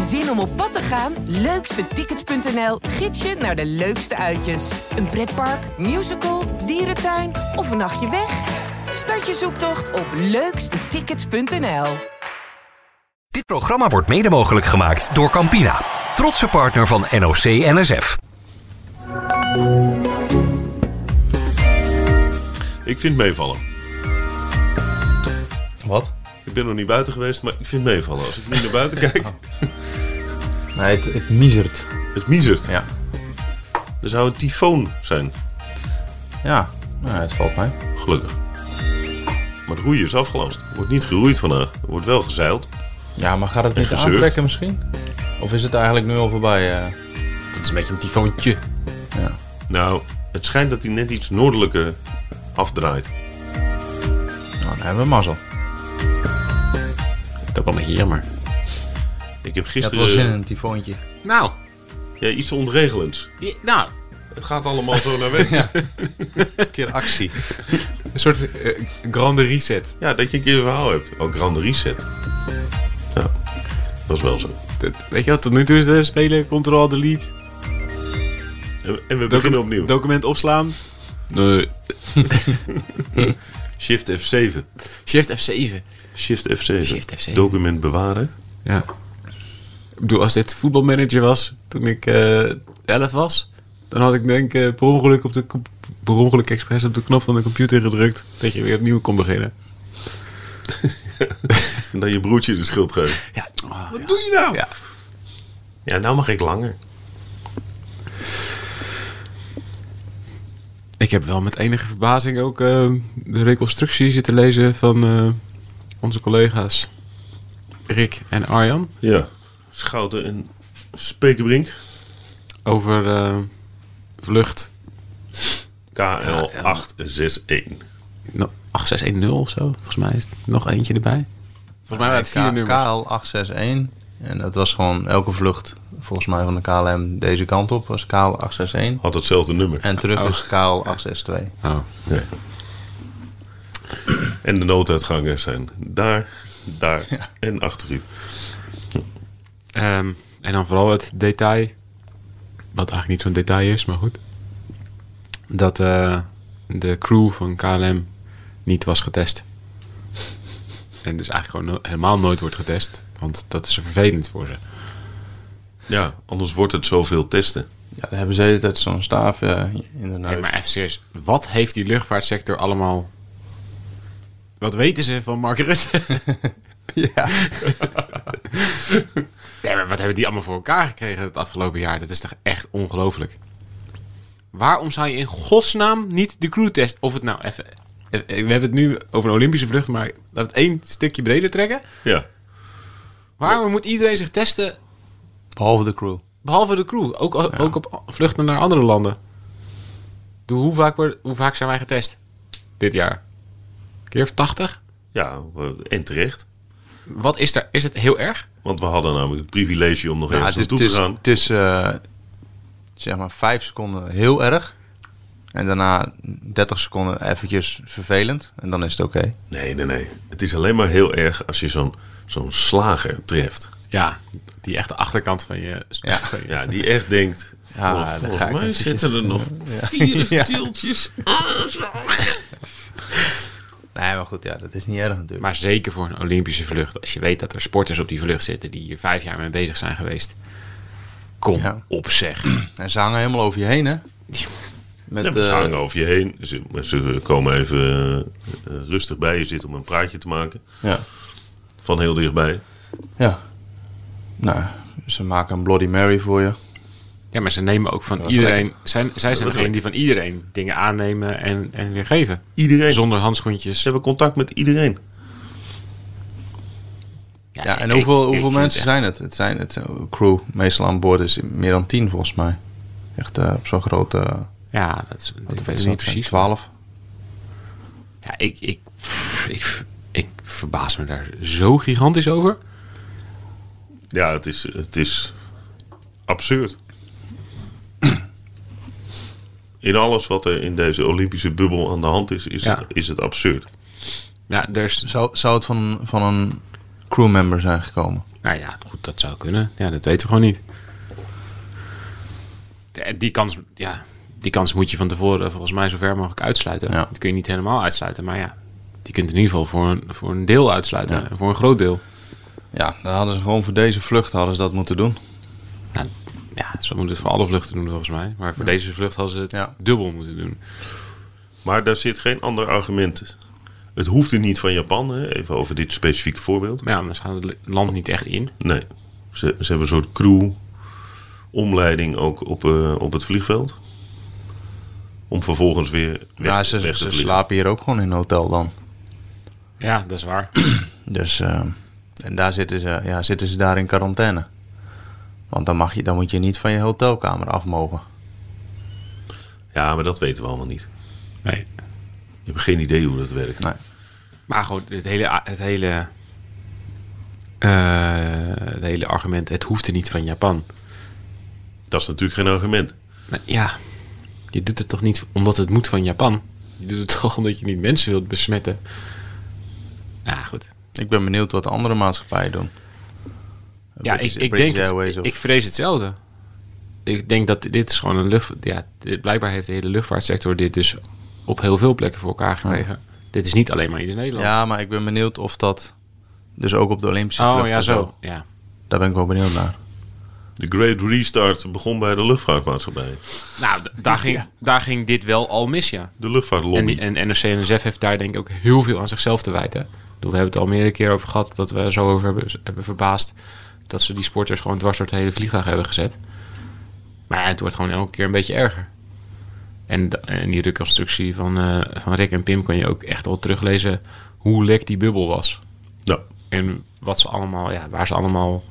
Zin om op pad te gaan? Leukstetickets.nl gids je naar de leukste uitjes. Een pretpark, musical, dierentuin of een nachtje weg? Start je zoektocht op leukstetickets.nl. Dit programma wordt mede mogelijk gemaakt door Campina, trotse partner van NOC NSF. Ik vind meevallen. Wat? Ik ben nog niet buiten geweest, maar ik vind meevallen. Als ik nu naar buiten kijk, Nee, het, het miezert. het miezert. Ja. Er zou een tyfoon zijn, Ja, nou, het valt mij. gelukkig. Maar het roeien is afgelast. Er wordt niet geroeid vandaag. Er wordt wel gezeild. Ja, maar gaat het niet gezeurd. aantrekken misschien? Of is het eigenlijk nu al voorbij? eh? Het is een beetje een tyfoontje. ja. Nou, het schijnt dat hij net iets noordelijker afdraait. Nou, dan hebben we mazzel. Dat is ook wel een beetje jammer. Ik heb Je had wel gisteren zin in een tyfoontje. Nou, Ja, iets ontregelends. i- nou. Het gaat allemaal zo naar weg. ja. Een keer actie. Een soort eh, grande reset. dat je een keer een verhaal hebt. Oh, Grande Reset. Ja, Nou, dat is wel zo. Dat, weet je wat, tot nu toe is eh, spelen, control, delete. En, en we beginnen opnieuw. Document opslaan. Nee. Shift F7. Shift F7. Shift F7. Shift F7. Document bewaren. Ja. Ik bedoel, als dit voetbalmanager was toen ik eh 11 was, dan had ik denk ik per ongeluk, op de, com- per ongeluk expres op de knop van de computer gedrukt dat je weer opnieuw kon beginnen. En dan je broertje de schuld geven. Ja. Wat doe je nou? Ja. Ja, nou mag ik langer. Ik heb wel met enige verbazing ook eh, de reconstructie zitten lezen van eh, onze collega's Rick en Arjan Ja. Schouten en Spekerbrink. over eh, vlucht KL861. no, 8610 of zo. Volgens mij is het nog eentje erbij. Volgens mij waren het vier nummers. KL861. En dat was gewoon elke vlucht, volgens mij van de KLM, deze kant op was KL861. Had hetzelfde nummer. En terug is KL862. Oh. Ja. En de nooduitgangen zijn daar, daar en achter u. Ehm, en dan vooral het detail, wat eigenlijk niet zo'n detail is, maar goed. Dat eh, de crew van KLM niet was getest. En dus eigenlijk gewoon no- helemaal nooit wordt getest, want dat is vervelend voor ze. Ja, anders wordt het zoveel testen. Ja, daar hebben ze de hele tijd zo'n staaf eh, in de Nee, neus. maar even serieus, wat heeft die luchtvaartsector allemaal... Wat weten ze van Mark Rutte? Ja. nee, maar wat hebben die allemaal voor elkaar gekregen het afgelopen jaar? Dat is toch echt ongelooflijk? Waarom zou je in godsnaam niet de crewtest... Of het nou even... eh, eh, We hebben het nu over een Olympische vlucht, maar laat het één stukje breder trekken. Ja, Waarom moet iedereen zich testen, Behalve de crew. behalve de crew? Ook, ook op vluchten naar andere landen. Doe, hoe, vaak, word- hoe vaak zijn wij getest? Dit jaar. Een keer of 80? ja en terecht. Wat is er? Is het heel erg? Want we hadden namelijk het privilege om nog Ja, ergens Nou, het is, naartoe het te is, gaan. het is, eh, zeg maar vijf seconden heel erg. En daarna 30 seconden eventjes vervelend. En dan is het oké. Nee, nee, nee. Het is alleen maar heel erg als je zo'n zo'n slager treft. Ja, die echte achterkant van je. Ja. van je- Ja, die echt denkt... Ja, "Vol- daar volgens ga ik mij eventjes. zitten er nog vier Ja. stieltjes Nee, maar goed, ja, dat is niet erg natuurlijk. Maar zeker voor een Olympische vlucht. Als je weet dat er sporters op die vlucht zitten die hier vijf jaar mee bezig zijn geweest. Kom Ja. op, zeg. en ze hangen helemaal over je heen, hè? Met, Ja, maar ze eh, hangen over je heen. Ze, ze komen even eh, eh, rustig bij je zitten om een praatje te maken. ja. Van heel dichtbij. ja. Nou, ze maken een Bloody Mary voor je. Ja, maar ze nemen ook van Dat is iedereen. Zijn, zij zijn is degene lekker. die van iedereen dingen aannemen en, en weer geven. Iedereen. Ze Zonder handschoentjes. hebben contact met iedereen. Ja, en ik- hoeveel, ik hoeveel vind mensen het echt- zijn het? Het zijn het eh, crew meestal aan boord is meer dan tien volgens mij. Echt eh, op zo'n grote. Ja, dat is, wat ik weet weet ik het niet niet, precies. twaalf. Ja, ik, ik, ik, ik verbaas me daar zo gigantisch over. Ja, het is, het is absurd. In alles wat er in deze Olympische bubbel aan de hand is, is, Ja. het, is het absurd. Ja, er is Zou, zou het van, van een crewmember zijn gekomen? Nou ja, goed, dat zou kunnen. Ja, dat weten we gewoon niet. De- Die kans, ja, die kans moet je van tevoren eh, volgens mij zo ver mogelijk uitsluiten. Ja. Dat kun je niet helemaal uitsluiten, maar ja, die kunt in ieder geval voor een, voor een deel uitsluiten. Ja. en Voor een groot deel. Ja, dan hadden ze gewoon voor deze vlucht hadden ze dat moeten doen. Nou, ja, zo moeten we het voor alle vluchten doen volgens mij. Maar voor deze vlucht hadden ze het Ja. dubbel moeten doen. Maar daar zit geen ander argument. Het hoefde niet van Japan, hè? even over dit specifieke voorbeeld. Maar ja, anders gaan het land niet echt in. Nee, ze, ze hebben een soort crew-omleiding ook op, eh, op het vliegveld. Om vervolgens weer weg, Ja, ze, weg te ze vliegen. slapen hier ook gewoon in een hotel dan. Ja, dat is waar. Dus eh, en daar zitten ze, ja, zitten ze daar in quarantaine. Want dan, mag je, dan moet je niet van je hotelkamer af mogen. Ja, maar dat weten we allemaal niet. Nee. Je hebt geen idee hoe dat werkt. Nee. Maar goed, het hele, a- het hele, eh, het hele argument, het hoeft er niet van Japan. Dat is natuurlijk geen argument. Maar Nou ja, je doet het toch niet omdat het moet van Japan? Je doet het toch omdat je niet mensen wilt besmetten? Ja, goed. Ik ben benieuwd wat andere maatschappijen doen. Ja, ik, British- ik, British denk het- Airways of- ik vrees hetzelfde. Ik denk dat dit is gewoon een lucht... Ja, dit- blijkbaar heeft de hele luchtvaartsector dit dus op heel veel plekken voor elkaar gekregen. Dit is niet alleen maar iets in Nederland. ja, maar ik ben benieuwd of dat dus ook op de Olympische oh vluchten ja, zo- zo. Ja. Daar ben ik wel benieuwd naar. De Great Restart begon bij de luchtvaartmaatschappij. Nou, d- daar ging, daar ging dit wel al mis, ja. De luchtvaartlobby. En, die- en NRC en NSF heeft daar denk ik ook heel veel aan zichzelf te wijten. Ik bedoel, We hebben het al meerdere keer over gehad dat we er zo over hebben, hebben verbaasd dat ze die sporters gewoon dwars door het hele vliegtuig hebben gezet. Maar ja, het wordt gewoon elke keer een beetje erger. En, da- en die reconstructie van, eh, van Rick en Pim kan je ook echt al teruglezen hoe lek die bubbel was. Nou, En wat ze allemaal, ja, waar ze allemaal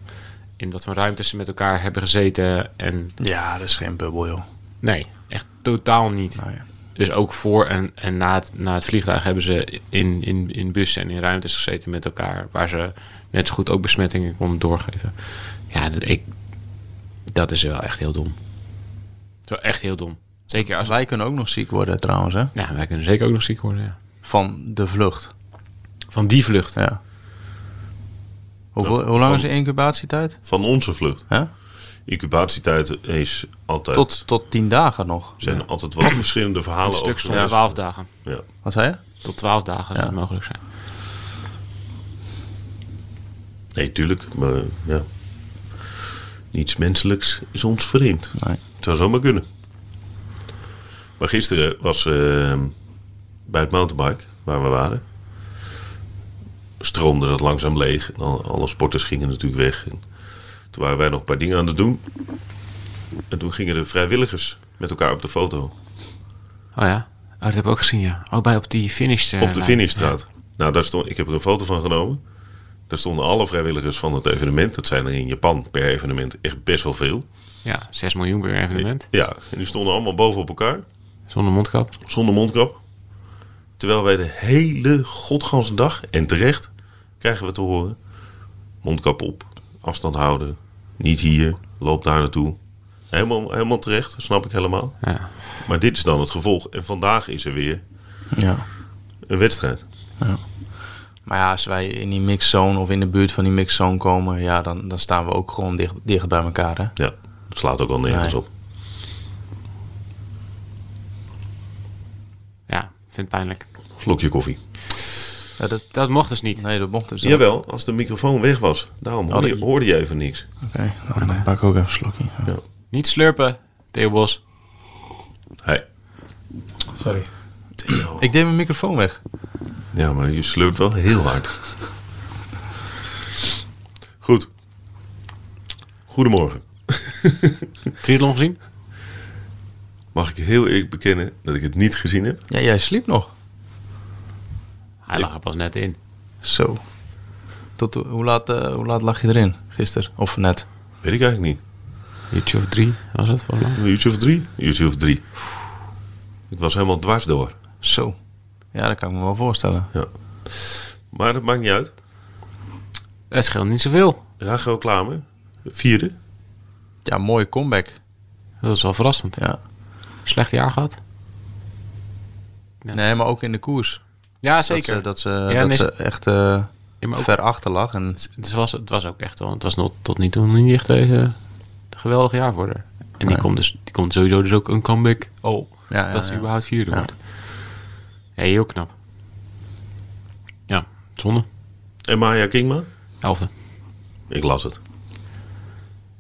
in wat voor ruimtes ze met elkaar hebben gezeten. En Ja, dat is geen bubbel, joh. nee, echt totaal niet. Nou ja. Dus ook voor en, en na, het, na het vliegtuig hebben ze in, in, in bussen en in ruimtes gezeten met elkaar. Waar ze net zo goed ook besmettingen konden doorgeven. Ja, dat, ik, dat is wel echt heel dom. Dat is wel echt heel dom. Zeker als... Wij kunnen ook nog ziek worden trouwens, hè? Ja, wij kunnen zeker ook nog ziek worden, ja. Van de vlucht. Van die vlucht. Ja. Hoeveel, Dat- hoe lang van- is de incubatietijd? van onze vlucht. Hè? Incubatietijd is altijd... Tot, tot tien dagen nog. zijn altijd wat verschillende Een verhalen stuk over. van Ja. 12 dagen. Ja. Wat zei je? Tot 12 dagen zou Ja. het mogelijk zijn. Nee, tuurlijk. Maar ja. Niets menselijks is ons vreemd. Nee. Het zou zomaar kunnen. Maar gisteren was eh, bij het mountainbike, waar we waren, stroomde dat langzaam leeg. En al- alle sporters gingen natuurlijk weg. En toen waren wij nog een paar dingen aan het doen. En toen gingen de vrijwilligers met elkaar op de foto. Oh ja? Oh, dat heb ik ook gezien, ja. Ook bij op die finish... eh, Op de lijn. finishstraat. Nou, daar stond, ik heb er een foto van genomen. Daar stonden alle vrijwilligers van het evenement. Dat zijn er in Japan per evenement echt best wel veel. Ja, 6 miljoen per evenement. Ja, en die stonden allemaal boven op elkaar, Zonder mondkap. zonder mondkap. Terwijl wij de hele godganse dag, en terecht, krijgen we te horen... mondkap op, afstand houden, niet hier, loop daar naartoe. Helemaal, helemaal terecht, snap ik helemaal. Ja. Maar dit is dan het gevolg. En vandaag is er weer Ja. een wedstrijd. Maar ja, als wij in die mixzone of in de buurt van die mixzone komen, ja, dan, dan staan we ook gewoon dicht, dicht bij elkaar. Hè? Ja, dat slaat ook al nergens Nee. op. Ja, vind het pijnlijk. Slokje koffie. Ja, dat, Dat mocht dus niet. nee, dat mocht dus. niet. Jawel, als de microfoon weg was. Daarom hoorde, je, dat- hoorde je even niks. Oké, nou, dan pak ik ook even een slokje. Ja. Niet slurpen, Theo Bos. Hey. Sorry. Ik deed mijn microfoon weg. Ja, maar je slurpt wel heel hard. Goed. Goedemorgen. Triathlon gezien? Mag ik heel eerlijk bekennen dat ik het niet gezien heb? Ja, jij sliep nog. Hij lag er pas net in. Zo. Tot, hoe, laat, eh, hoe laat lag je erin gisteren? Of net? Weet ik eigenlijk niet. Uurtje of drie was het volgens mij. Een uurtje of drie? Een uurtje of drie. Ik was helemaal dwars door. Zo. Ja, dat kan ik me wel voorstellen. Maar dat maakt niet uit. Het scheelt niet zoveel. Rachel Klamer, vierde. Ja, mooie comeback. Dat is wel verrassend. Ja. Slecht jaar gehad? Nee, maar ook in de koers. Ja, Dat zeker. ze, dat ze, Ja, dat nee, ze echt eh, Ja, maar ook, ver achter lag. En het, was, het was ook echt wel. Het was nog, tot nu toe nog niet echt eh, een geweldig jaar voor haar. En die, Nee. komt dus, die komt sowieso dus ook een comeback. Oh, Ja, ja, dat ze ja. überhaupt vierde Ja. wordt. Ja, heel knap. Ja, zonde. En Maya Kingma? Elfde. Ik las het.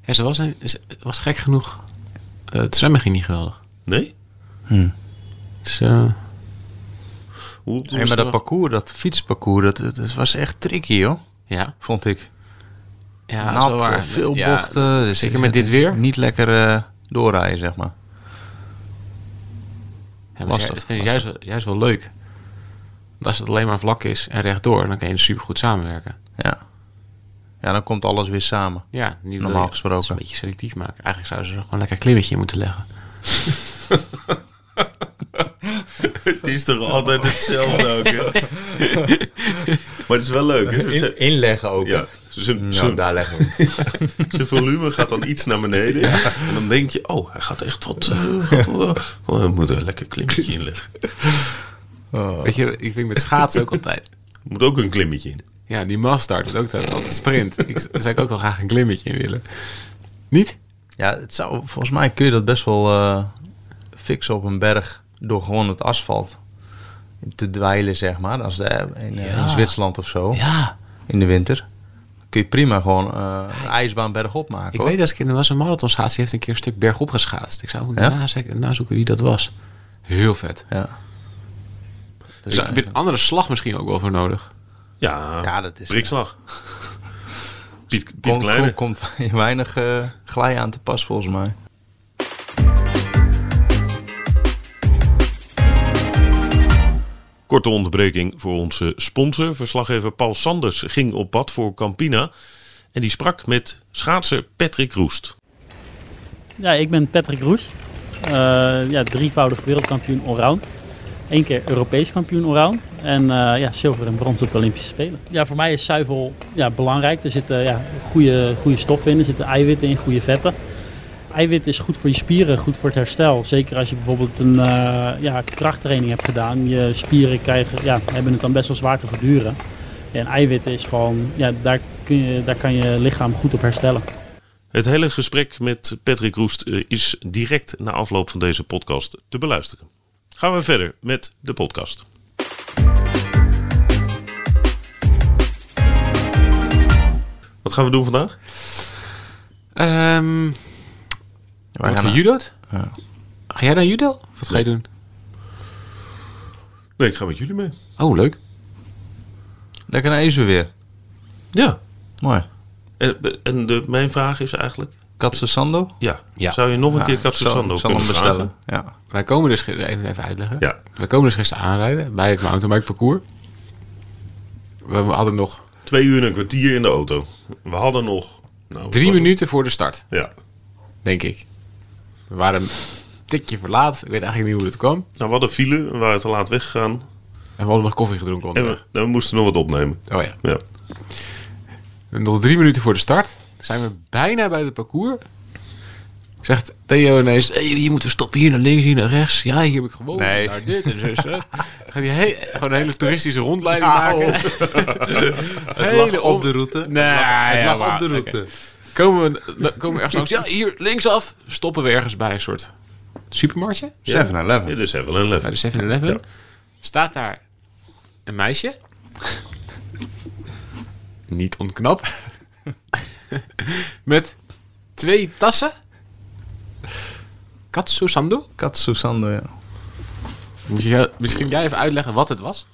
Ja, ze was, een, ze was gek genoeg. eh, het zwemmen ging niet geweldig. Nee? Dus, eh, Hoe, hoe Hey, maar dat wel- parcours, dat fietsparcours, dat, dat, dat was echt tricky, joh. ja. Vond ik. ja Ja, dat is wel waar. veel Ja, bochten. Dus zeker het- met dit weer. Niet lekker eh, doorrijden, zeg maar. Ja, maar Lastig, dat vind ik juist, wel- juist wel leuk. Want als het alleen maar vlak is en rechtdoor, dan kan je super goed samenwerken. Ja. Ja, dan komt alles weer samen. Ja, nu wil Normaal je gesproken. het Een beetje selectief maken. Eigenlijk zouden ze er gewoon lekker een klimmetje in moeten leggen. Het is toch altijd hetzelfde ook, hè? maar het is wel leuk, hè? Ze- inleggen ook. Nou, ja, zijn, zijn, daar leggen we. zijn volume gaat dan iets naar beneden. En dan denk je, oh, hij gaat echt tot... eh, gaat wel- oh, we moeten een lekker klimmetje inleggen. Weet je, ik vind met schaatsen ook altijd. Er moet ook een klimmetje in. Ja, die mastart doet ook altijd, altijd sprint. Ik z- zou ik ook wel graag een klimmetje in willen. Niet? Ja, het zou, volgens mij kun je dat best wel eh, fixen op een berg door gewoon het asfalt te dweilen, zeg maar. Als de, in, eh, in Zwitserland of zo, Ja. in de winter. Kun je prima gewoon eh, een ijsbaan bergop maken. Ik hoor. weet dat ik, er was een marathonschaats, die heeft een keer een stuk bergop geschaatst. Ik zou Ja? moeten nazoeken, nazoeken wie dat was. Heel vet. Ja. Dus ik heb een andere slag misschien ook wel voor nodig. Ja, Ja, dat is- prikslag. Piet, Piet komt, Kleine. komt, komt weinig eh glij aan te pas, volgens mij. Korte onderbreking voor onze sponsor. Verslaggever Paul Sanders ging op pad voor Campina. En die sprak met schaatser Patrick Roest. Ja, ik ben Patrick Roest. Eh, ja, drievoudig wereldkampioen allround. Eén keer Europees kampioen allround. En eh, ja, zilver en brons op de Olympische Spelen. Ja, voor mij is zuivel ja, belangrijk. Er zitten ja, goede, goede stoffen in. Er zitten eiwitten in, goede vetten. Eiwit is goed voor je spieren, goed voor het herstel. Zeker als je bijvoorbeeld een eh, ja, krachttraining hebt gedaan. Je spieren krijgen, ja, hebben het dan best wel zwaar te verduren. En eiwit is gewoon, ja, daar, kun je, daar kan je lichaam goed op herstellen. Het hele gesprek met Patrick Roest eh, is direct na afloop van deze podcast te beluisteren. Gaan we verder met de podcast. Wat gaan we doen vandaag? Ehm Wij wat gaan gaan naar- judo? Ja. Ga jij naar judo? Of wat ga je doen? Nee, ik ga met jullie mee. Oh, leuk. Lekker naar Ezu weer. Ja. Mooi. En, en de, mijn vraag is eigenlijk: Katse Sando? ja, Ja. zou je nog een Ja, keer Katsu zal- Sando zal hem kunnen bestellen. vragen? Ja. Wij komen dus, ge- even, even uitleggen. Ja. Wij komen dus gisteren aanrijden bij het mountainbike parcours. We hadden nog Twee uur en een kwartier in de auto. We hadden nog nou, drie was- minuten voor de start, Ja. denk ik. We waren een tikje verlaat. Ik weet eigenlijk niet hoe het kwam. Nou, we hadden file, we waren te laat weggegaan. En we hadden nog koffie gedronken En we, nou, onderweg. we moesten nog wat opnemen. Oh ja. Ja. En Nog drie minuten voor de start zijn we bijna bij het parcours. Zegt Theo ineens, hey, hier moeten we stoppen, hier naar links, hier naar rechts. Ja, hier heb ik gewoon Nee. daar dit en zo. zo. Gaat hij he- gewoon een hele toeristische rondleiding Nou. maken. hele om- route. Nee, ja, lag op maar- de route. oké. Komen, we, dan komen we ergens langs. Ja, hier linksaf. Stoppen we ergens bij een soort supermarktje. Ja. 7-Eleven. Ja, dus even een level. Bij de 7-Eleven. Ja. Staat daar een meisje. Niet onknap. Met twee tassen. Katsu Sando. Katsu Sando, ja. Moet je misschien jij even uitleggen wat het was?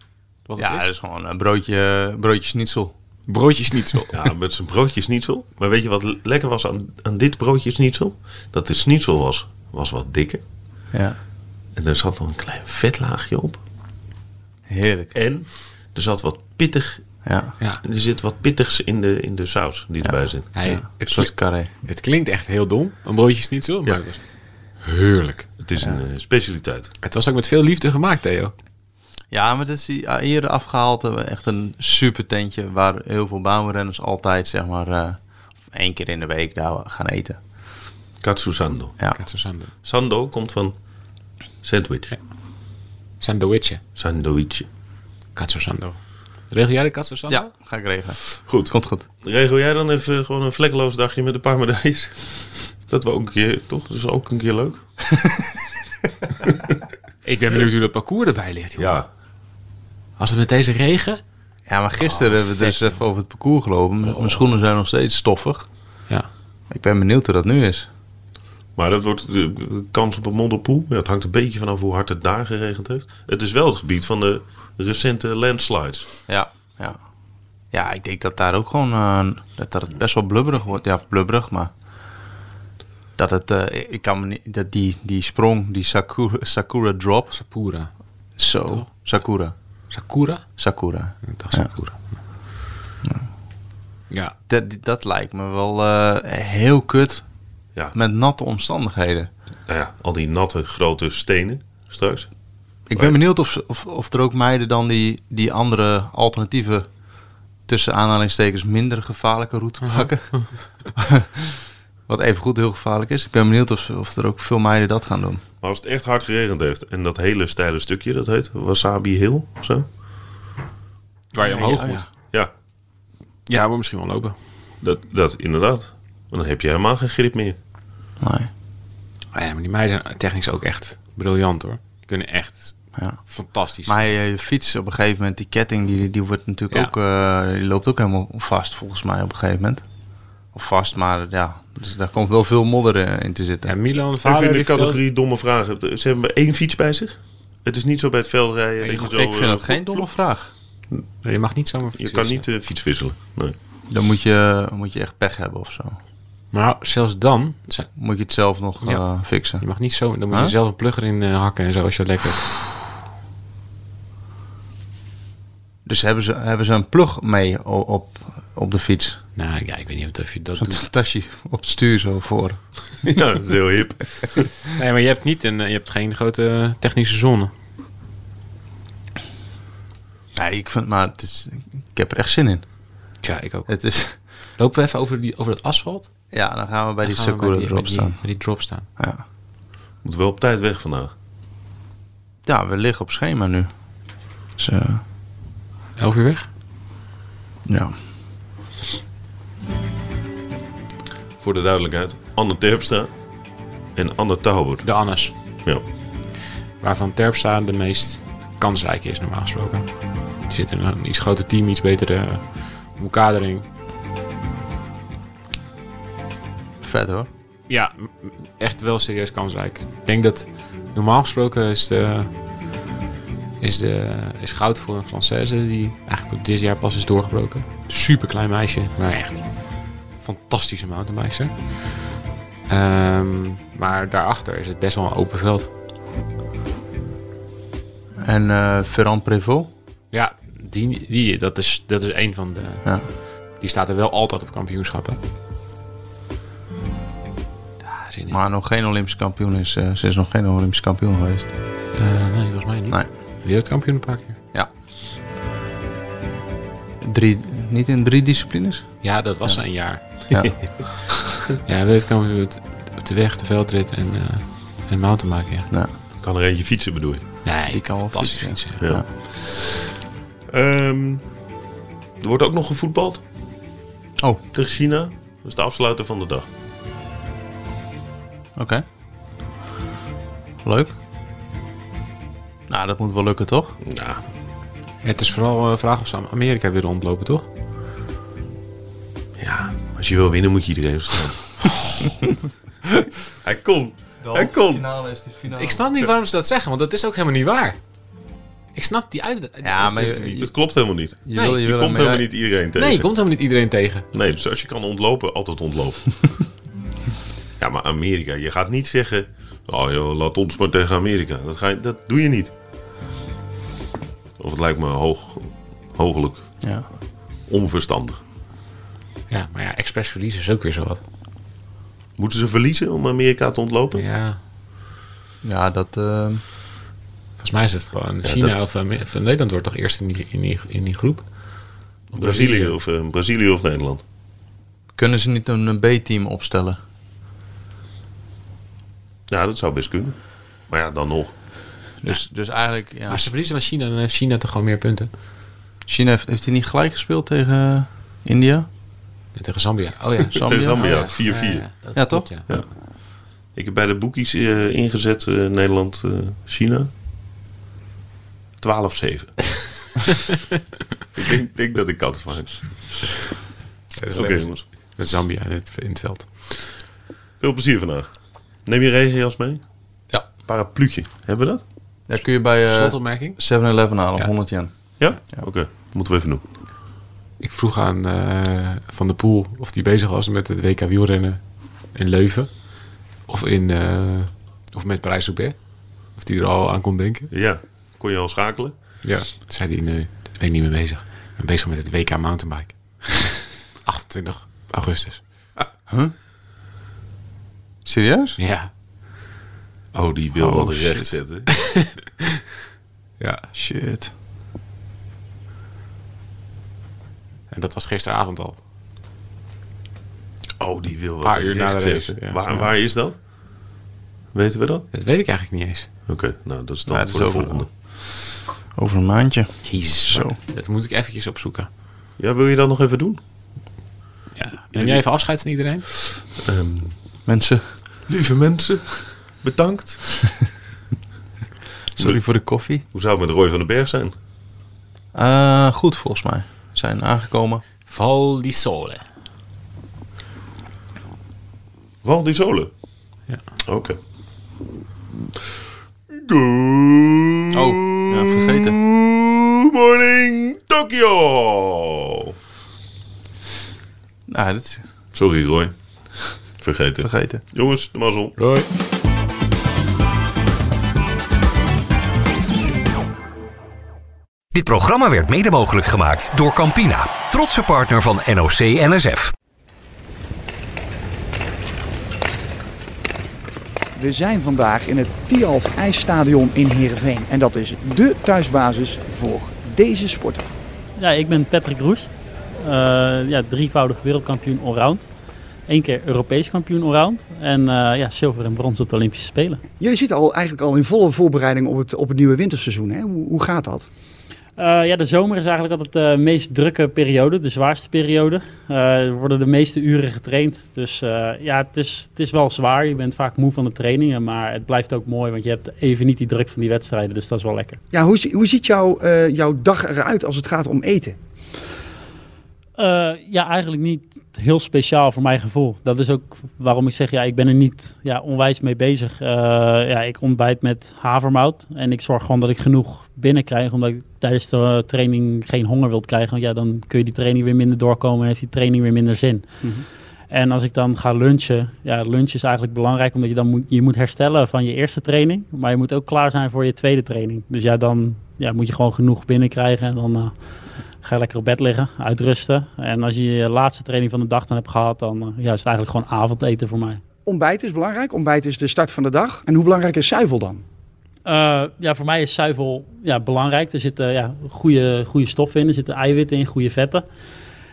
Wat Ja, het dat is? is gewoon een broodje, broodje schnitzel. Broodjes niet zo. Ja, met zijn broodjes schnitzel. Maar weet je wat le- lekker was aan, aan dit broodje schnitzel? Dat de schnitzel was, was wat dikker. Ja. En er zat nog een klein vetlaagje op. Heerlijk. En er zat wat pittig... Ja. Ja. Er zit wat pittigs in de, in de saus die erbij zit. Hij, ja. Een het, soort carré. Het klinkt echt heel dom, een broodje is niet zo, maar Ja. het was heerlijk. Het is een eh, specialiteit. Het was ook met veel liefde gemaakt, Theo. Ja, maar dit is die- ah, eerder afgehaald. eh, Echt een super tentje waar heel veel baanrenners altijd, zeg maar, eh, of één keer in de week daar gaan eten. Katsu Sando. Ja. Sando. Sando komt van sandwich. Sandoetje. Sandoietje. Katsu Sando. Regel jij de kast, Susanne? Ja, ga ik regelen. Goed. Komt goed. Regel jij dan even gewoon een vlekloos dagje met een paar medailles? Dat we ook een keer, toch? Dat is ook een keer leuk. Ik ben benieuwd hoe dat parcours erbij ligt, joh. Ja. Als het met deze regen... Ja, maar gisteren Oh, hebben we het dus vet, even over het parcours gelopen. Mijn mijn schoenen zijn nog steeds stoffig. Ja. Ik ben benieuwd hoe dat nu is. Maar dat wordt de de kans op een modderpoel. Ja, het hangt een beetje vanaf hoe hard het daar geregend heeft. Het is wel het gebied van de recente landslides. Ja, ja. Ja, ik denk dat daar ook gewoon... eh, dat, dat het best wel blubberig wordt. Ja, of blubberig, maar... Dat het... eh, ik kan me niet... Dat die, die sprong, die Sakura, Sakura drop. Sapura. Zo. Sakura. Sakura? Sakura. Ik dacht Ja. Sakura. Ja. Dat, dat lijkt me wel eh, heel kut Ja, met natte omstandigheden. nou ja, al die natte grote stenen straks. Ik ben benieuwd of, ze- of, of er ook meiden dan die, die andere alternatieve, tussen aanhalingstekens, minder gevaarlijke route Mhm. pakken. Wat evengoed heel gevaarlijk is. Ik ben benieuwd of, of er ook veel meiden dat gaan doen. Maar als het echt hard geregend heeft en dat hele steile stukje, dat heet Wasabi Hill of zo. Waar je omhoog Ja, moet. ja. Ja, Ja, we moeten misschien wel lopen. dat, dat inderdaad. Want dan heb je helemaal geen grip meer. Nee. Ah ja, maar die meiden zijn technisch ook echt briljant, hoor. Die kunnen echt Ja. fantastisch. Maar je, je fiets op een gegeven moment, die ketting, die, die, wordt natuurlijk Ja. ook, eh, die loopt ook helemaal vast volgens mij op een gegeven moment. Of vast, maar ja, dus daar komt wel veel modder eh, in te zitten. ja, Milan, Even vader, in de die vertelde- categorie domme vragen. Ze hebben maar één fiets bij zich. Het is niet zo bij het veldrijden. dat ik, je zo, ik vind eh, dat geen domme dus, vraag. Nee, je mag niet zomaar Je fietsen. kan niet de fiets wisselen. Nee. Dan moet je, moet je echt pech hebben of zo. Maar zelfs dan, zijn- Moet je het zelf nog Ja. eh, fixen. je mag niet zo... Dan moet je Huh? zelf een plugger in eh, hakken en zo, als je dat lekker... Dus hebben ze, hebben ze een plug mee o- op, op de fiets? Nou, ja, ik weet niet of je dat doet. Een tasje op het stuur zo voor. Ja, dat is heel hip. Nee, maar je hebt, niet een, eh, je hebt geen grote eh, technische zone. Nee, ik vind, maar het is, ik heb er echt zin in. Ja, ik ook. Het is, Lopen we even over, die, over het asfalt? ja, dan gaan we bij Dan die gaan we Sakura die- erop die- staan. bij die drop staan. Ja. Moet wel op tijd weg vandaag. ja, we liggen op schema nu. Dus, eh, Elf uur weg? ja. Voor de duidelijkheid. Anne Terpstra en Anne Tauber. De Annes. Ja. Waarvan Terpstra de meest kansrijke is, normaal gesproken. Die zit in een iets groter team, iets betere eh, omkadering. Vet hoor. Ja, m- m- echt wel serieus kansrijk. Ik denk dat normaal gesproken is de... Is, de, is goud voor een Française die eigenlijk dit jaar pas is doorgebroken. Super klein meisje, maar echt fantastische mountainbikester. Ehm, maar daarachter is het best wel een open veld. En eh Ferrand Prévost? Ja, die, die, dat, is, dat is een van de. Ja. Die staat er wel altijd op kampioenschappen. Daar zin in. Maar nog geen Olympisch kampioen is. eh, ze is nog geen Olympisch kampioen geweest. Eh, nee, volgens mij niet. Nee. Wereldkampioen een paar keer. Ja. Drie, niet in drie disciplines? Ja, dat was een jaar. Ja. Ja, wereldkampioen op de- op de weg, de veldrit en, eh en mountainbiken. Ja. nou, Kan er eentje fietsen bedoel je? Nee, die kan wel fantastisch fietsen. fietsen. Ja. Ehm, er wordt ook nog gevoetbald Oh, tegen China. Dat is de afsluiter van de dag. Oké. Leuk. Nou, dat moet wel lukken, toch? Ja. Het is vooral een vraag of ze aan Amerika willen ontlopen, toch? ja. Als je wil winnen moet je iedereen verslaan. Hij kon. Hij kon. finale is de finale. Ik snap niet waarom ze dat zeggen, want dat is ook helemaal niet waar. Ik snap die uit. Ja, maar Nee, je, je, Dat klopt helemaal niet. je Nee, wil, je je Je wil komt een helemaal medaille- niet iedereen tegen. je komt helemaal niet iedereen tegen. Nee, dus als je kan ontlopen, altijd ontlopen. ja, maar Amerika. Je gaat niet zeggen... Oh joh, laat ons maar tegen Amerika. Dat, ga je, dat doe je niet. Of het lijkt me hoog, hoogelijk Ja. onverstandig. Ja, maar ja, expres verliezen is ook weer zo wat. Moeten ze verliezen om Amerika te ontlopen? Ja. ja, dat... eh, Volgens mij is het gewoon China dat- of, Amer- of Nederland wordt toch eerst in die, in die, in die groep. Of Brazilië, of, eh, Brazilië of Nederland? kunnen ze niet een een B-team opstellen? Ja, dat zou best kunnen. Maar ja, dan nog. Dus, dus eigenlijk, ja. Als ze verliezen van China, dan heeft China toch gewoon meer punten. China heeft, heeft hij niet gelijk gespeeld tegen eh, India? Ja, tegen Zambia. Oh ja, Zambia. Zambia. Oh, 4-4. dat Ja, klopt, toch? Ja. Ik heb bij de boekies eh, ingezet Nederland-China. 12-7. ik denk, denk dat ik kans van heb. Dat is Oké, leuk. jongens. Met Zambia in het, in het veld. Veel plezier vandaag. Neem je regenjas mee? Ja. Parapluutje. Hebben we dat? Daar kun je bij eh, Slotopmerking? 7-Eleven halen, Ja. 100 yen. Ja? Oké, moeten we even doen. Ik vroeg aan eh, Van der Poel of hij bezig was met het WK wielrennen in Leuven. Of, in, eh, of met Parijs-Roubaix. Of hij er al aan kon denken. Ja, kon je al schakelen? Ja. Toen zei hij, nee, daar ben ik niet mee bezig. Ik ben bezig met het WK mountainbike. 28 augustus. Serieus? Ja. Oh, die wil Oh, wat shit. recht zetten. Ja. Shit. En dat was gisteravond al. Oh, die wil wat Paar uur recht na de race, zetten. ja. Waar, Ja. waar is dat? Weten we dat? Dat weet ik eigenlijk niet eens. Oké, nou dat is dan Ja, dat voor is de over- volgende. Over een maandje. Jezus. Zo. maar Dat moet ik eventjes opzoeken. Ja, wil je dat nog even doen? Ja. Neem jij even afscheid van iedereen? Mensen, Lieve mensen, bedankt. sorry voor de koffie. Hoe zou het met Roy van den Berg zijn? Eh, goed, volgens mij. Zijn aangekomen. Val di Sole. Wal di Zolen. Ja. Oké. Good Oh, ja, vergeten. morning, Tokio! Nou, dat is Sorry, Roy. Vergeten. vergeten. Jongens, de mazzel. Hoi. Dit programma werd mede mogelijk gemaakt door Campina, trotse partner van NOC NSF. We zijn vandaag in het Tialf IJsstadion in Heerenveen. En dat is dé thuisbasis voor deze sporter. Ja, ik ben Patrick Roest. Eh, ja, drievoudig wereldkampioen allround. Eén keer Europees kampioen allround. En eh, ja, zilver en brons op de Olympische Spelen. Jullie zitten al, eigenlijk al in volle voorbereiding op het, op het nieuwe winterseizoen. Hè? Hoe, hoe gaat dat? Eh, ja, de zomer is eigenlijk altijd de meest drukke periode, de zwaarste periode. Eh, er worden de meeste uren getraind. Dus eh, ja, het is, het is wel zwaar. Je bent vaak moe van de trainingen, maar het blijft ook mooi, want je hebt even niet die druk van die wedstrijden. Dus dat is wel lekker. Ja, hoe, zie- hoe ziet jouw, eh, jouw dag eruit als het gaat om eten? Eh, ja, eigenlijk niet heel speciaal voor mijn gevoel. Dat is ook waarom ik zeg, ja, ik ben er niet ja, onwijs mee bezig. Eh, ja, ik ontbijt met havermout en ik zorg gewoon dat ik genoeg binnenkrijg, omdat ik tijdens de eh, training geen honger wil krijgen. Want ja, dan kun je die training weer minder doorkomen en heeft die training weer minder zin. En als ik dan ga lunchen, ja, lunch is eigenlijk belangrijk omdat je dan moet, je moet herstellen van je eerste training, maar je moet ook klaar zijn voor je tweede training. Dus ja, dan ja, moet je gewoon genoeg binnenkrijgen en dan... eh, Ga lekker op bed liggen, uitrusten. En als je je laatste training van de dag dan hebt gehad, dan eh, ja, is het eigenlijk gewoon avondeten voor mij. Ontbijt is belangrijk. Ontbijt is de start van de dag. En hoe belangrijk is zuivel dan? Eh, ja, voor mij is zuivel ja, belangrijk. Er zitten ja, goede, goede stoffen in, er zitten eiwitten in, goede vetten.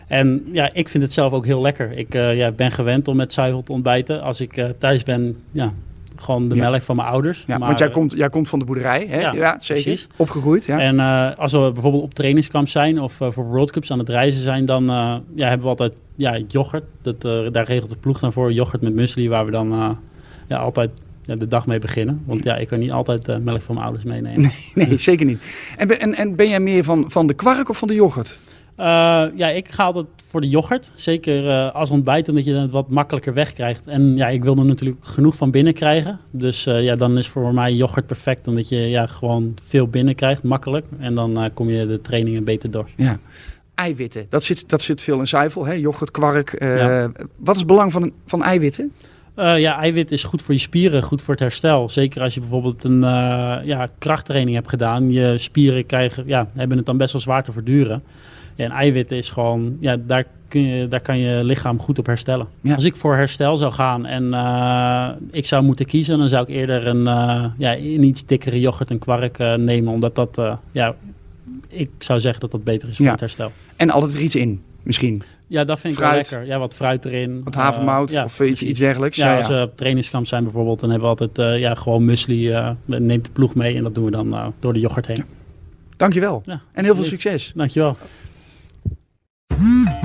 En ja, ik vind het zelf ook heel lekker. Ik eh, ja, ben gewend om met zuivel te ontbijten. Als ik eh, thuis ben, ja, gewoon de Ja. melk van mijn ouders. Ja, Maar, want jij eh, komt, jij komt van de boerderij, hè? Ja, zeker. precies. Opgegroeid, ja. En eh, als we bijvoorbeeld op trainingskamp zijn of eh, voor World Cups aan het reizen zijn, dan eh, ja, hebben we altijd ja, yoghurt. Dat, eh, daar regelt de ploeg dan voor. Yoghurt met muesli, waar we dan eh, ja, altijd ja, de dag mee beginnen. Want ja, ik kan niet altijd eh, melk van mijn ouders meenemen. Nee, zeker niet. En ben, en, en ben jij meer van, van de kwark of van de yoghurt? Eh, ja, ik ga altijd voor de yoghurt. Zeker eh, als ontbijt, omdat je dan het wat makkelijker wegkrijgt. En ja, ik wil er natuurlijk genoeg van binnen krijgen. Dus eh, ja, dan is voor mij yoghurt perfect, omdat je ja, gewoon veel binnenkrijgt, makkelijk. En dan eh, kom je de trainingen beter door. Ja. Eiwitten, dat zit, dat zit veel in zuivel, hè? yoghurt, kwark. eh, Ja. Wat is het belang van, van eiwitten? Eh, ja, eiwit is goed voor je spieren, goed voor het herstel. Zeker als je bijvoorbeeld een eh, ja, krachttraining hebt gedaan. Je spieren krijgen, ja, hebben het dan best wel zwaar te verduren. Ja, en eiwit is gewoon, ja, daar, kun je, daar kan je lichaam goed op herstellen. Ja. Als ik voor herstel zou gaan en eh, ik zou moeten kiezen, dan zou ik eerder een, eh, ja, een iets dikkere yoghurt en kwark eh, nemen. Omdat dat, eh, ja, ik zou zeggen dat dat beter is voor Ja. het herstel. En altijd er iets in, misschien. Ja, dat vind Fruit. ik wel lekker. Ja, wat fruit erin. Wat Eh, havermout ja, of iets, precies. iets dergelijks. Ja, als we op trainingskamp zijn bijvoorbeeld, dan hebben we altijd eh, ja, gewoon muesli. eh, dan neemt de ploeg mee en dat doen we dan eh, door de yoghurt heen. Dankjewel. Ja, En heel veel alsjeblieft. succes. Dankjewel.